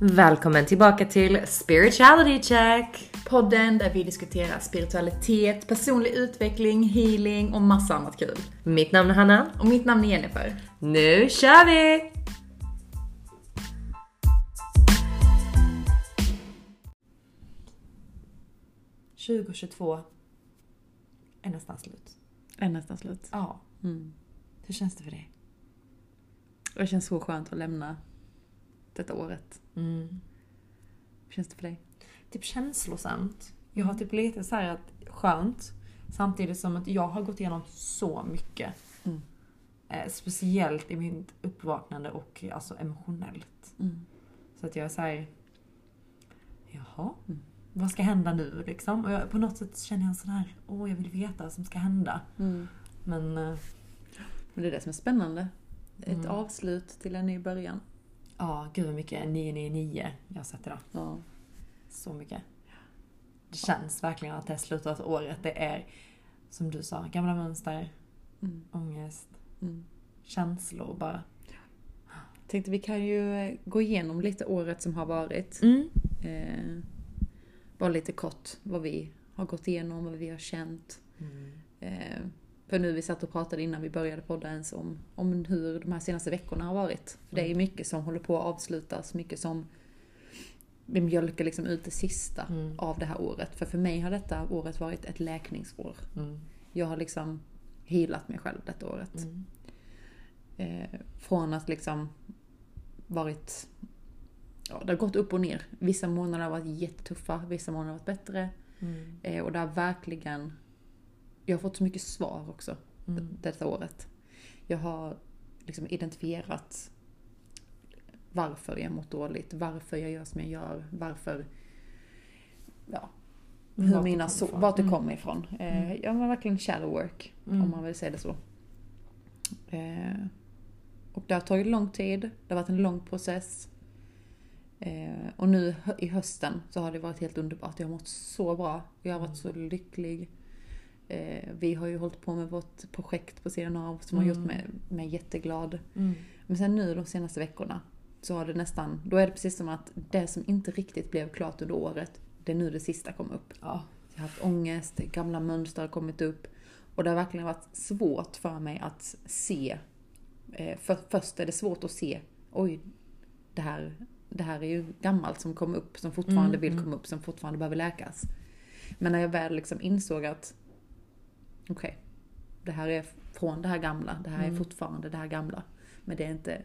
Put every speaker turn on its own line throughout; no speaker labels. Välkommen tillbaka till Spirituality Check!
Podden där vi diskuterar spiritualitet, personlig utveckling, healing och massa annat kul.
Mitt namn är Hanna.
Och mitt namn är Jennifer.
Nu kör vi! ...2022 är nästan slut.
Är nästan slut.
Ja.
Mm.
Hur känns det för dig?
Och det känns så skönt att lämna detta året. Mm. Hur känns det för dig?
Typ känslosamt.
Mm.
Jag har typ lite så här att skönt. Samtidigt som att jag har gått igenom så mycket.
Mm.
Eh, speciellt i mitt uppvaknande och alltså emotionellt.
Mm.
Så att jag är så här. Jaha,
Mm.
vad ska hända nu liksom? Och jag, på något sätt känner jag en sån här, åh jag vill veta vad som ska hända. Men eh,
Mm. Men det är det som är spännande. Ett
Mm.
avslut till en ny början.
ja, gud vad mycket 999 jag har sett idag.
Ja.
Så mycket. Det känns verkligen att det är slutet av året. Det är som du sa, gamla mönster,
Mm.
ångest,
Mm.
känslor bara.
Tänkte vi kan ju eh, gå igenom lite året som har varit. Eh, bara lite kort vad vi har gått igenom, vad vi har känt. Eh, för nu vi satt och pratade innan vi började podda ens om, om hur de här senaste veckorna har varit. För det är mycket som håller på att avslutas, mycket som vi mjölkar liksom ut det sista
Mm.
av det här året. För för mig har detta året varit ett läkningsår.
Mm.
Jag har liksom healat mig själv detta året.
Mm.
Eh, från att liksom varit... Ja, det har gått upp och ner. Vissa månader har varit jättetuffa, vissa månader har varit bättre.
Mm.
Eh, och det har verkligen... Jag har fått så mycket svar också
Mm.
detta året. Jag har liksom identifierat varför jag mått dåligt, varför jag gör som jag gör, varför... Ja, hur
Vart det
mina
kom
så,
ifrån.
vart det
Mm.
kommer ifrån. Eh, jag var verkligen shadow work,
Mm.
om man vill säga det så. Eh, och det har tagit lång tid, det har varit en lång process. Eh, och nu hö- i hösten så har det varit helt underbart. Jag har mått så bra. Jag har varit så lycklig. Eh, vi har ju hållit på med vårt projekt på sidan av som har gjort mig, mig jätteglad.
Mm.
Men sen nu de senaste veckorna så har det nästan, då är det precis som att det som inte riktigt blev klart under året, det är nu det sista kom upp.
Ja.
Jag har haft ångest, gamla mönster har kommit upp. Och det har verkligen varit svårt för mig att se. Eh, För, först är det svårt att se, oj, det här, det här är ju gammalt som kom upp, som fortfarande
Mm,
vill
mm.
komma upp, som fortfarande behöver läkas. Men när jag väl liksom insåg att, okej, det här är från det här gamla, det här
Mm.
är fortfarande det här gamla. Men det är inte,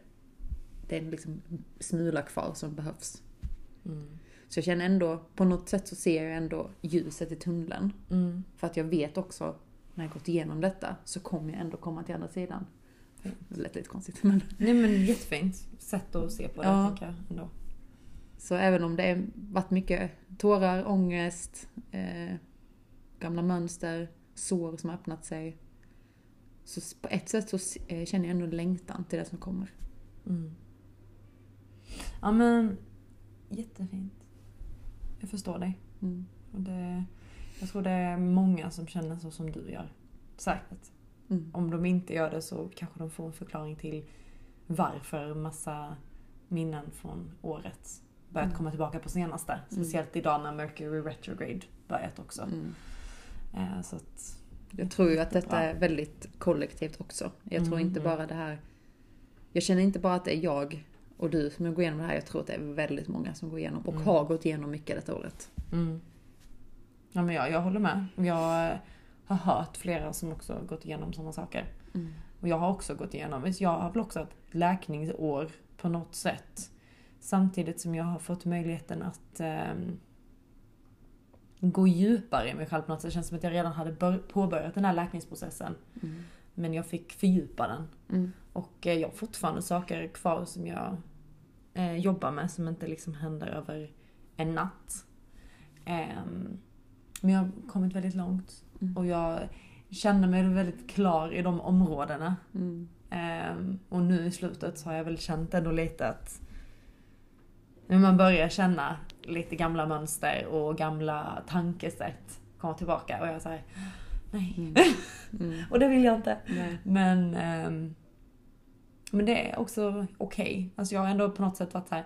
det är liksom en smula kvar som behövs.
Mm.
Så jag känner ändå, på något sätt så ser jag ändå ljuset i tunneln.
Mm.
För att jag vet också, när jag gått igenom detta, så kommer jag ändå komma till andra sidan. Det lät lite konstigt, men...
Nej men jättefint sätt att se på det
Ja.
tänker jag ändå.
Så även om det har varit mycket tårar, ångest, eh, gamla mönster, sår som har öppnat sig. Så s- på ett sätt så s- eh, känner jag ändå en längtan till det som kommer.
Mm. Ja men jättefint. Jag förstår dig.
Mm.
Och det, jag tror det är många som känner så som du gör. Säkert.
Mm.
Om de inte gör det så kanske de får en förklaring till varför massa minnen från året börjat
Mm.
komma tillbaka på senaste. Speciellt idag när Mercury Retrograde börjat också.
Mm.
Eh, Så att,
Jag tror ju att detta
Jättebra.
är väldigt kollektivt också. Jag tror
Mm,
inte
mm.
bara det här... Jag känner inte bara att det är jag och du som går igenom det här. Jag tror att det är väldigt många som går igenom och
Mm.
har gått igenom mycket detta året.
mm. ja, men jag, jag håller med. Jag har hört flera som också gått igenom sådana saker.
Mm.
Och jag har också gått igenom, visst, jag har väl också ett läkningsår på något sätt. Samtidigt som jag har fått möjligheten att ehm, gå djupare i mig själv på något sätt. Det känns som att jag redan hade bör- påbörjat den här läkningsprocessen.
Mm.
Men jag fick fördjupa den.
Mm.
Och eh, jag har fortfarande saker kvar som jag eh, jobbar med som inte liksom händer över en natt. Ehm, men jag har kommit väldigt långt.
Mm.
Och jag känner mig väldigt klar i de områdena.
Mm.
Ehm, och nu i slutet så har jag väl känt ändå lite att när man börjar känna lite gamla mönster och gamla tankesätt komma tillbaka och jag säger nej,
Mm. Mm.
och det vill jag inte.
Nej.
Men, ehm, men det är också okej. Alltså jag har ändå på något sätt varit så här,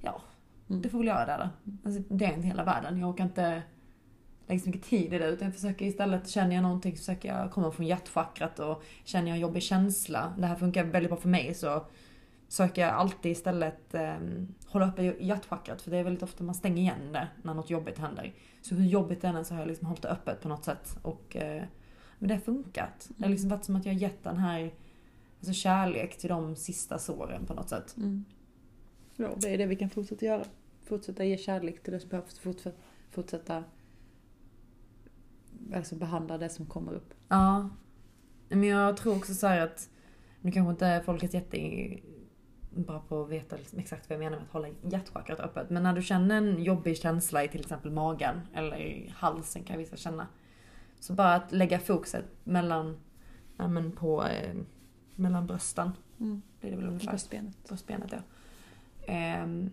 ja,
Mm.
Du får väl göra det då. Alltså, det är inte hela världen. Jag orkar inte lägga så mycket tid i det. Utan jag försöker istället, känner jag någonting så försöker jag komma från hjärtchakrat och känner jag en jobbig känsla, det här funkar väldigt bra för mig, så försöker jag alltid istället eh, hålla uppe hjärtchakrat. För det är väldigt ofta man stänger igen det när något jobbigt händer. Så hur jobbigt det än är så har jag liksom hållit det öppet på något sätt. Och, eh, men det har funkat. Det har liksom varit som att jag har gett den här alltså, kärlek till de sista såren på något sätt.
Mm. Ja, det är det vi kan fortsätta göra. Fortsätta ge kärlek till det som behövs. Fortsätta, fortsätta alltså behandla det som kommer upp.
Ja. Men jag tror också så här att, nu kanske inte folk är jättebra på att veta liksom exakt vad jag menar med att hålla hjärtchakrat öppet. Men när du känner en jobbig känsla i till exempel magen eller i halsen kan vissa känna. Så bara att lägga fokuset mellan, ja, men på, eh, mellan brösten.
Mm.
Blir det väl ungefär?
Bröstbenet.
bröstbenet. Ja. Ehm,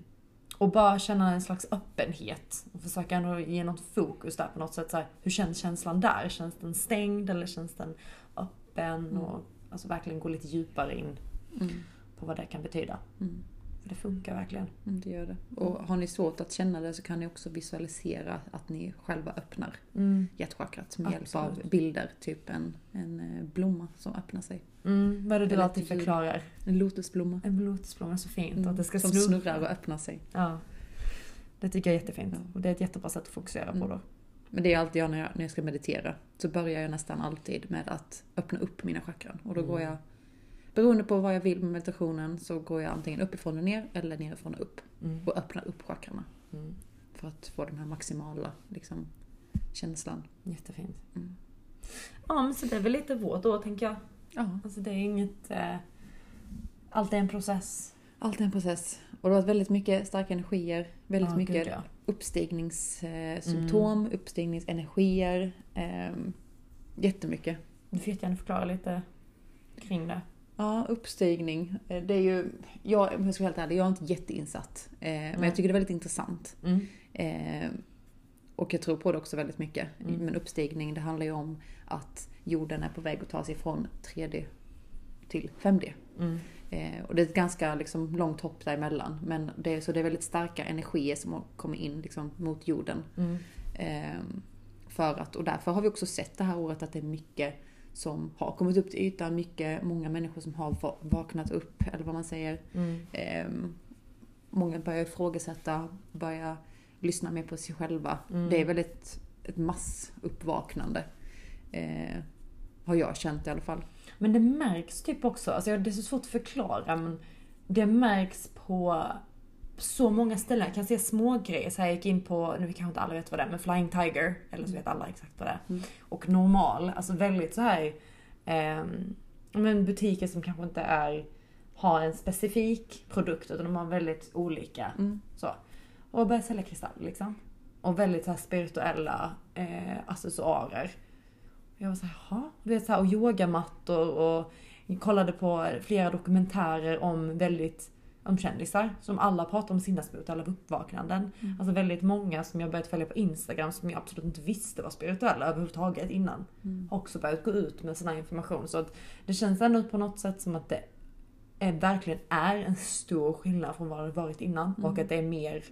och bara känna en slags öppenhet. Och försöka ändå ge något fokus där på något sätt. Så här, hur känns känslan där? Känns den stängd eller känns den öppen?
Mm.
Och, alltså verkligen gå lite djupare in
Mm.
på vad det kan betyda.
Mm.
För det funkar verkligen.
Mm, det gör det. Och har ni svårt att känna det så kan ni också visualisera att ni själva öppnar
Mm.
hjärtchakrat med hjälp av
Absolut.
bilder. Typ en, en eh, blomma som öppnar sig.
Mm, vad är det
Det
du
lät
alltid
ljud.
förklarar?
En lotusblomma.
En lotusblomma är så fint.
Mm,
Att det ska
som
snurra.
snurrar och öppnar sig.
Ja. Det tycker jag är jättefint.
Ja.
Och det är ett jättebra sätt att fokusera
Mm.
på då.
Men det är alltid jag när, jag när jag ska meditera. Så börjar jag nästan alltid med att öppna upp mina chakran. Och då går
Mm.
jag, beroende på vad jag vill med meditationen, så går jag antingen uppifrån och ner eller nerifrån och upp.
Mm.
Och öppnar upp chakrarna.
Mm.
För att få den här maximala liksom, känslan.
Jättefint.
Mm.
Ja, men så det är väl lite vårt då tänker jag.
Ja,
Alltså det är inget... Eh, allt är en process.
allt är en process. Och det har varit väldigt mycket starka energier. Väldigt
Ja,
mycket
gud, ja. Mm.
uppstigningssymptom, uppstigningsenergier. ehm, jättemycket.
Du får jättegärna förklara lite kring det.
Ja, uppstigning. Eh, Det är ju, jag, om jag ska vara helt ärlig, jag är inte jätteinsatt. Eh, men
Nej.
jag tycker det är väldigt intressant. Eh, och jag tror på det också väldigt mycket.
Mm.
Men uppstigning, det handlar ju om att jorden är på väg att ta sig från 3D till 5D. Eh, och det är ett ganska liksom, långt hopp däremellan. Men det, är- så det är väldigt starka energier som kommer in liksom, mot jorden. Ehm, För att, och därför har vi också sett det här året att det är mycket som har kommit upp till ytan. Mycket, många människor som har va- vaknat upp, eller vad man säger.
Mm.
Ehm, Många börjar ifrågasätta, börjar lyssna mer på sig själva.
Mm.
Det är väl ett, ett massuppvaknande. Eh, har jag känt i alla fall.
Men det märks typ också, alltså jag- det är så svårt att förklara men det märks på så många ställen. Jag kan se små grejer. Så här, jag gick in på, nu kanske inte alla vet vad det är, men Flying Tiger. Eller så vet alla exakt vad det är.
Mm.
Och normal, alltså väldigt så här ehm, men butiker som kanske inte är, har en specifik produkt utan de har väldigt olika.
Mm.
Så. Och började sälja kristaller liksom. Och väldigt så här spirituella eh, accessoarer. Och Jag var såhär, jaha? Du vet, så här, och yogamattor och kollade på flera dokumentärer om väldigt om kändisar som alla pratar om sina spirituella uppvaknanden. Alltså väldigt många som jag börjat följa på Instagram som jag absolut inte visste var spirituella överhuvudtaget innan.
Mm.
Har också börjat gå ut med sån här information. Så att det känns ändå på något sätt som att det är, verkligen är en stor skillnad från vad det varit innan. Och att det är mer,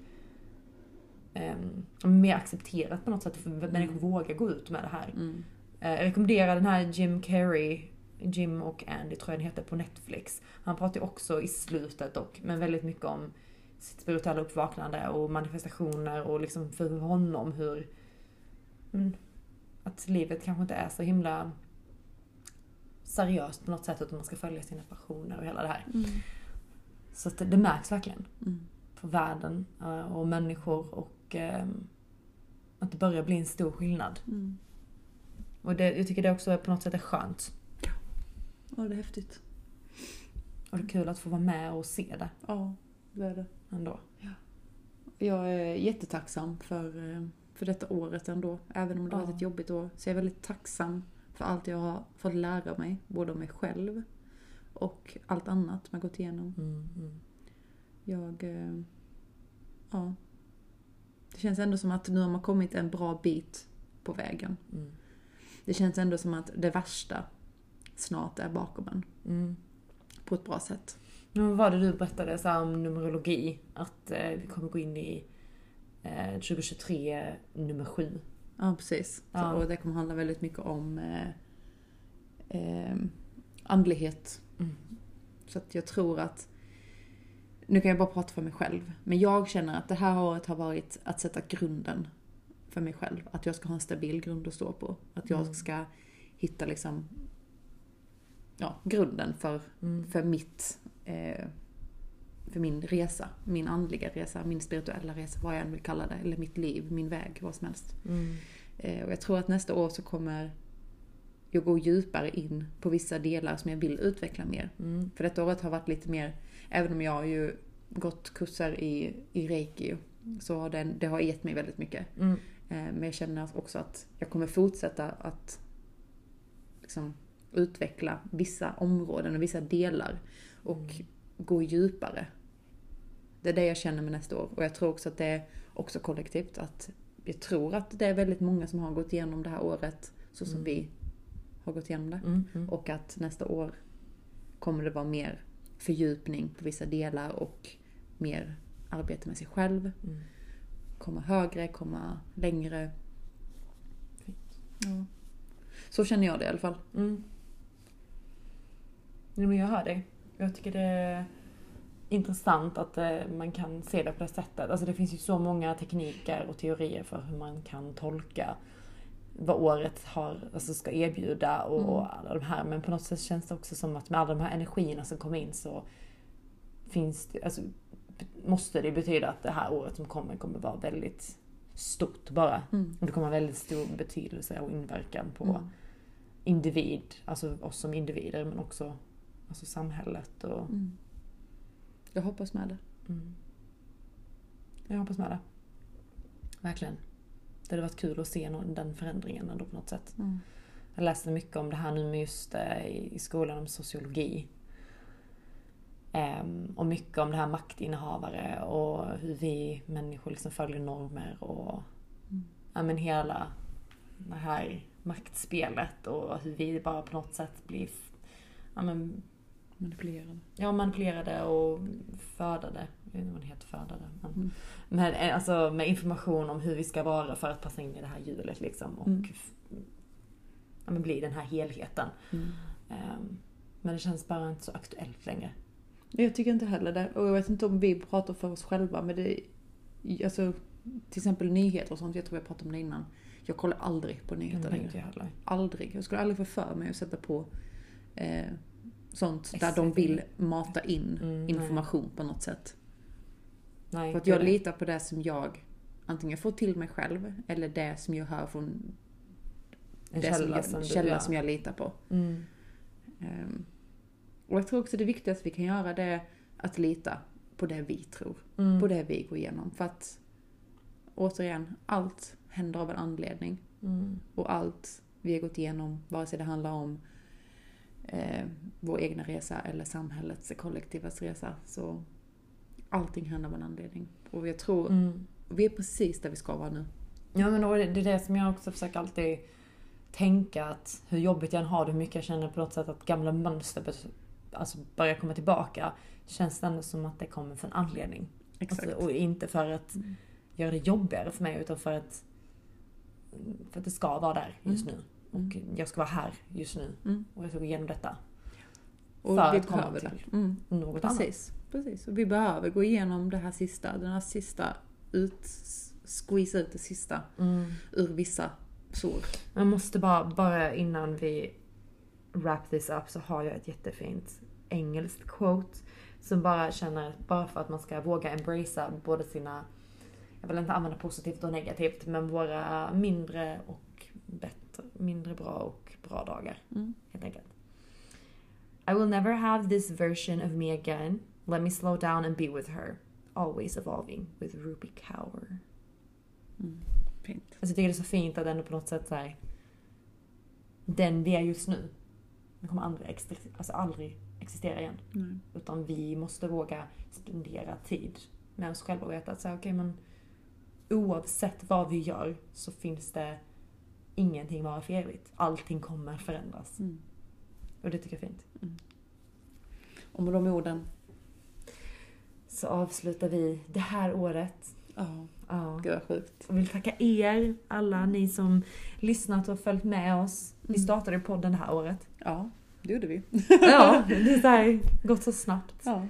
ehm, mer accepterat på något sätt. För människor vågar gå ut med det här.
Mm.
Eh, Jag rekommenderar den här Jim Carrey, Jim och Andy tror jag den heter, på Netflix. Han pratar ju också i slutet dock, men väldigt mycket om sitt spirituella uppvaknande och manifestationer och liksom för honom hur... mm, Att livet kanske inte är så himla seriöst på något sätt utan man ska följa sina passioner och hela det här.
Mm.
Så att det, det märks verkligen
Mm.
på världen eh, och människor och ehm, att det börjar bli en stor skillnad.
Mm.
Och det, jag tycker det också är på något sätt är skönt.
Ja, det är häftigt.
Och det är kul att få vara med och se det
Ja, det är det.
ändå.
Jag är jättetacksam för, eh, för detta året ändå. Även om det har varit
Ja.
ett jobbigt år. Så jag är väldigt tacksam för allt jag har fått lära mig. Både om mig själv och allt annat man gått igenom.
Mm,
Jag... eh, Ja. Det känns ändå som att nu har man kommit en bra bit på vägen.
mm,
Det känns ändå
mm.
som att det värsta snart är bakom en. På ett bra sätt.
Men vad var det du berättade så här, om Numerologi? Att eh, vi kommer gå in i eh, 2023 nummer sju.
Ja, precis.
Ja.
Så, och det kommer handla väldigt mycket om eh, eh, andlighet.
Mm.
Så att jag tror att... Nu kan jag bara prata för mig själv. Men jag känner att det här året har varit att sätta grunden för mig själv. Att jag ska ha en stabil grund att stå på. Att jag
Mm.
ska hitta liksom... Ja, grunden för,
Mm.
för mitt... Eh, för min resa. Min andliga resa, min spirituella resa, vad jag än vill kalla det. Eller mitt liv, min väg, vad som helst.
Mm.
Eh, Och jag tror att nästa år så kommer jag gå djupare in på vissa delar som jag vill utveckla mer.
Mm.
För detta året har varit lite mer, även om jag har ju gått kurser i, i reiki, så har den, det har gett mig väldigt mycket.
Mm.
Eh, Men jag känner också att jag kommer fortsätta att liksom utveckla vissa områden och vissa delar och
Mm.
gå djupare. Det är det jag känner med nästa år och jag tror också att det är också kollektivt att jag tror att det är väldigt många som har gått igenom det här året så som
Mm.
vi har gått igenom det.
Mm. Mm.
Och att nästa år kommer det vara mer fördjupning på vissa delar och mer arbete med sig själv
Mm.
komma högre, komma längre.
Fint.
Ja. Så känner jag det i alla fall.
Mm. Nej, men jag hör dig. Jag tycker det är intressant att eh, man kan se det på det sättet. Alltså det finns ju så många tekniker och teorier för hur man kan tolka vad året har, alltså ska erbjuda och,
Mm.
och alla de här. Men på något sätt känns det också som att med alla de här energierna som kommer in så finns det, alltså, måste det betyda att det här året som kommer kommer vara väldigt stort bara.
Mm.
Och det kommer ha väldigt stor betydelse och inverkan på
Mm.
individ, alltså oss som individer men också alltså samhället och...
Mm. Jag hoppas med det.
Mm. Jag hoppas med det. Verkligen. Det hade varit kul att se nå- den förändringen ändå på något sätt.
Mm.
Jag läste mycket om det här nu med just eh, i i skolan om sociologi. Ehm, och mycket om det här maktinnehavare och hur vi människor liksom följer normer och
Mm.
ja, men hela det här maktspelet och hur vi bara på något sätt blir f- ja, men,
Manipulerande.
ja, manipulerade och födade. Jag vet inte vad det heter, födade. Men,
Mm.
men eh, alltså med information om hur vi ska vara för att passa in i det här hjulet liksom och
Mm.
f- ja, men, bli den här helheten.
Mm.
Ehm, Men det känns bara inte så aktuellt längre.
Jag tycker inte heller det. Och jag vet inte om vi pratar för oss själva men det... Alltså, till exempel nyheter och sånt. Jag tror jag pratade om det innan. Jag kollar aldrig på
Jag
nyheter
tänkte
längre.
jag heller.
Aldrig. Jag skulle aldrig få för mig att sätta på eh, sånt där
Exakt.
de vill mata in
Mm, nej.
information på något sätt.
Nej,
För att jag litar på det som jag antingen får till mig själv eller det som jag hör från
en
det som
källa
jag,
som,
källa
du,
som jag litar på.
ja. mm.
Ehm, och jag tror också det viktigaste vi kan göra det är att lita på det vi tror,
Mm.
på det vi går igenom. För att återigen, allt händer av en anledning
Mm.
och allt vi har gått igenom, vare sig det handlar om eh, vår egna resa eller samhällets, kollektivas resa, så allting händer av en anledning. Och jag tror
Mm.
vi är precis där vi ska vara nu.
Ja men då är det det är det som jag också försöker alltid tänka att hur jobbigt jag än har det, hur mycket jag känner på något sätt att gamla mönster bör- alltså börjar komma tillbaka. Det känns ändå som att det kommer för en anledning. Alltså, och inte för att
Mm.
göra det jobbigare för mig utan för att, för att det ska vara där just nu.
Mm.
Och jag ska vara här just nu.
Mm.
Och jag ska gå igenom detta.
Och
för
vi
att komma
behöver
till
det. Mm.
Något annat.
Precis. Precis. Och vi behöver gå igenom det här sista, den här sista, ut, squeeze ut det sista
Mm.
ur vissa sår.
Jag måste bara, bara innan vi wrap this up så har jag ett jättefint engelskt quote som bara känner att bara för att man ska våga embracea både sina, jag vill inte använda positivt och negativt, men våra mindre och bättre, mindre bra och bra dagar
Mm.
helt enkelt. I will never have this version of me again. Let me slow down and be with her. Always evolving with Ruby Cower.
Mm. Fint.
Alltså jag tycker det är så fint att ändå på något sätt så här, Den vi är just nu. Den kommer aldrig, exist- alltså aldrig existera igen.
Nej.
Utan vi måste våga spendera tid med oss själva och veta att så här, okej men oavsett vad vi gör så finns det ingenting vara för evigt. Allting kommer förändras.
Mm.
Och det tycker jag är fint.
Och med de orden
så avslutar vi det här året.
Ja,
Ja.
gud vad sjukt.
Jag vill tacka er, alla ni som lyssnat och följt med oss. Vi startade ju podden det här året.
Ja, det gjorde vi.
Ja, det är så här, gått så snabbt.
Ja.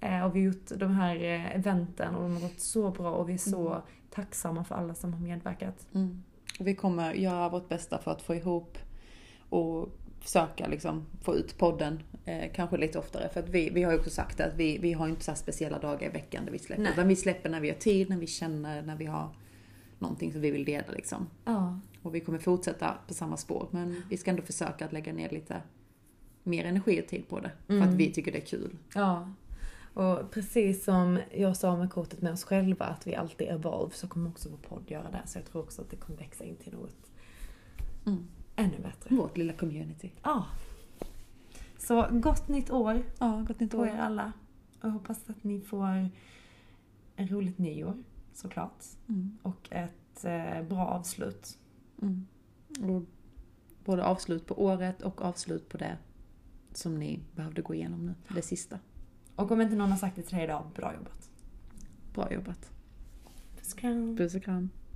Eh, och vi har gjort de här eh, eventen och de har gått så bra och vi är så tacksamma för alla som har medverkat.
Mm. Och vi kommer göra vårt bästa för att få ihop och försöka liksom få ut podden eh, kanske lite oftare. För att vi, vi har ju också sagt att vi, vi har inte så här speciella dagar i veckan där vi släpper.
Nej.
Utan vi släpper när vi har tid, när vi känner, när vi har någonting som vi vill dela liksom.
Ja,
Och vi kommer fortsätta på samma spår. Men vi ska ändå försöka att lägga ner lite mer energi och tid på det. För att vi tycker det är kul.
ja. Och precis som jag sa med kortet med oss själva, att vi alltid evolve, så kommer också vår podd göra det. Så jag tror också att det kommer växa in till något
Mm.
ännu bättre.
Vårt lilla community.
Ja. Så gott nytt år
Ja, gott nytt
på
år.
er alla. Och jag hoppas att ni får en roligt nyår, såklart.
Mm,
Och ett eh, bra avslut
mm. Och både avslut på året och avslut på det som ni behövde gå igenom nu. Det sista.
Och om inte någon har sagt det till dig idag, bra jobbat.
Bra jobbat.
Puss kram.
Puss och kram.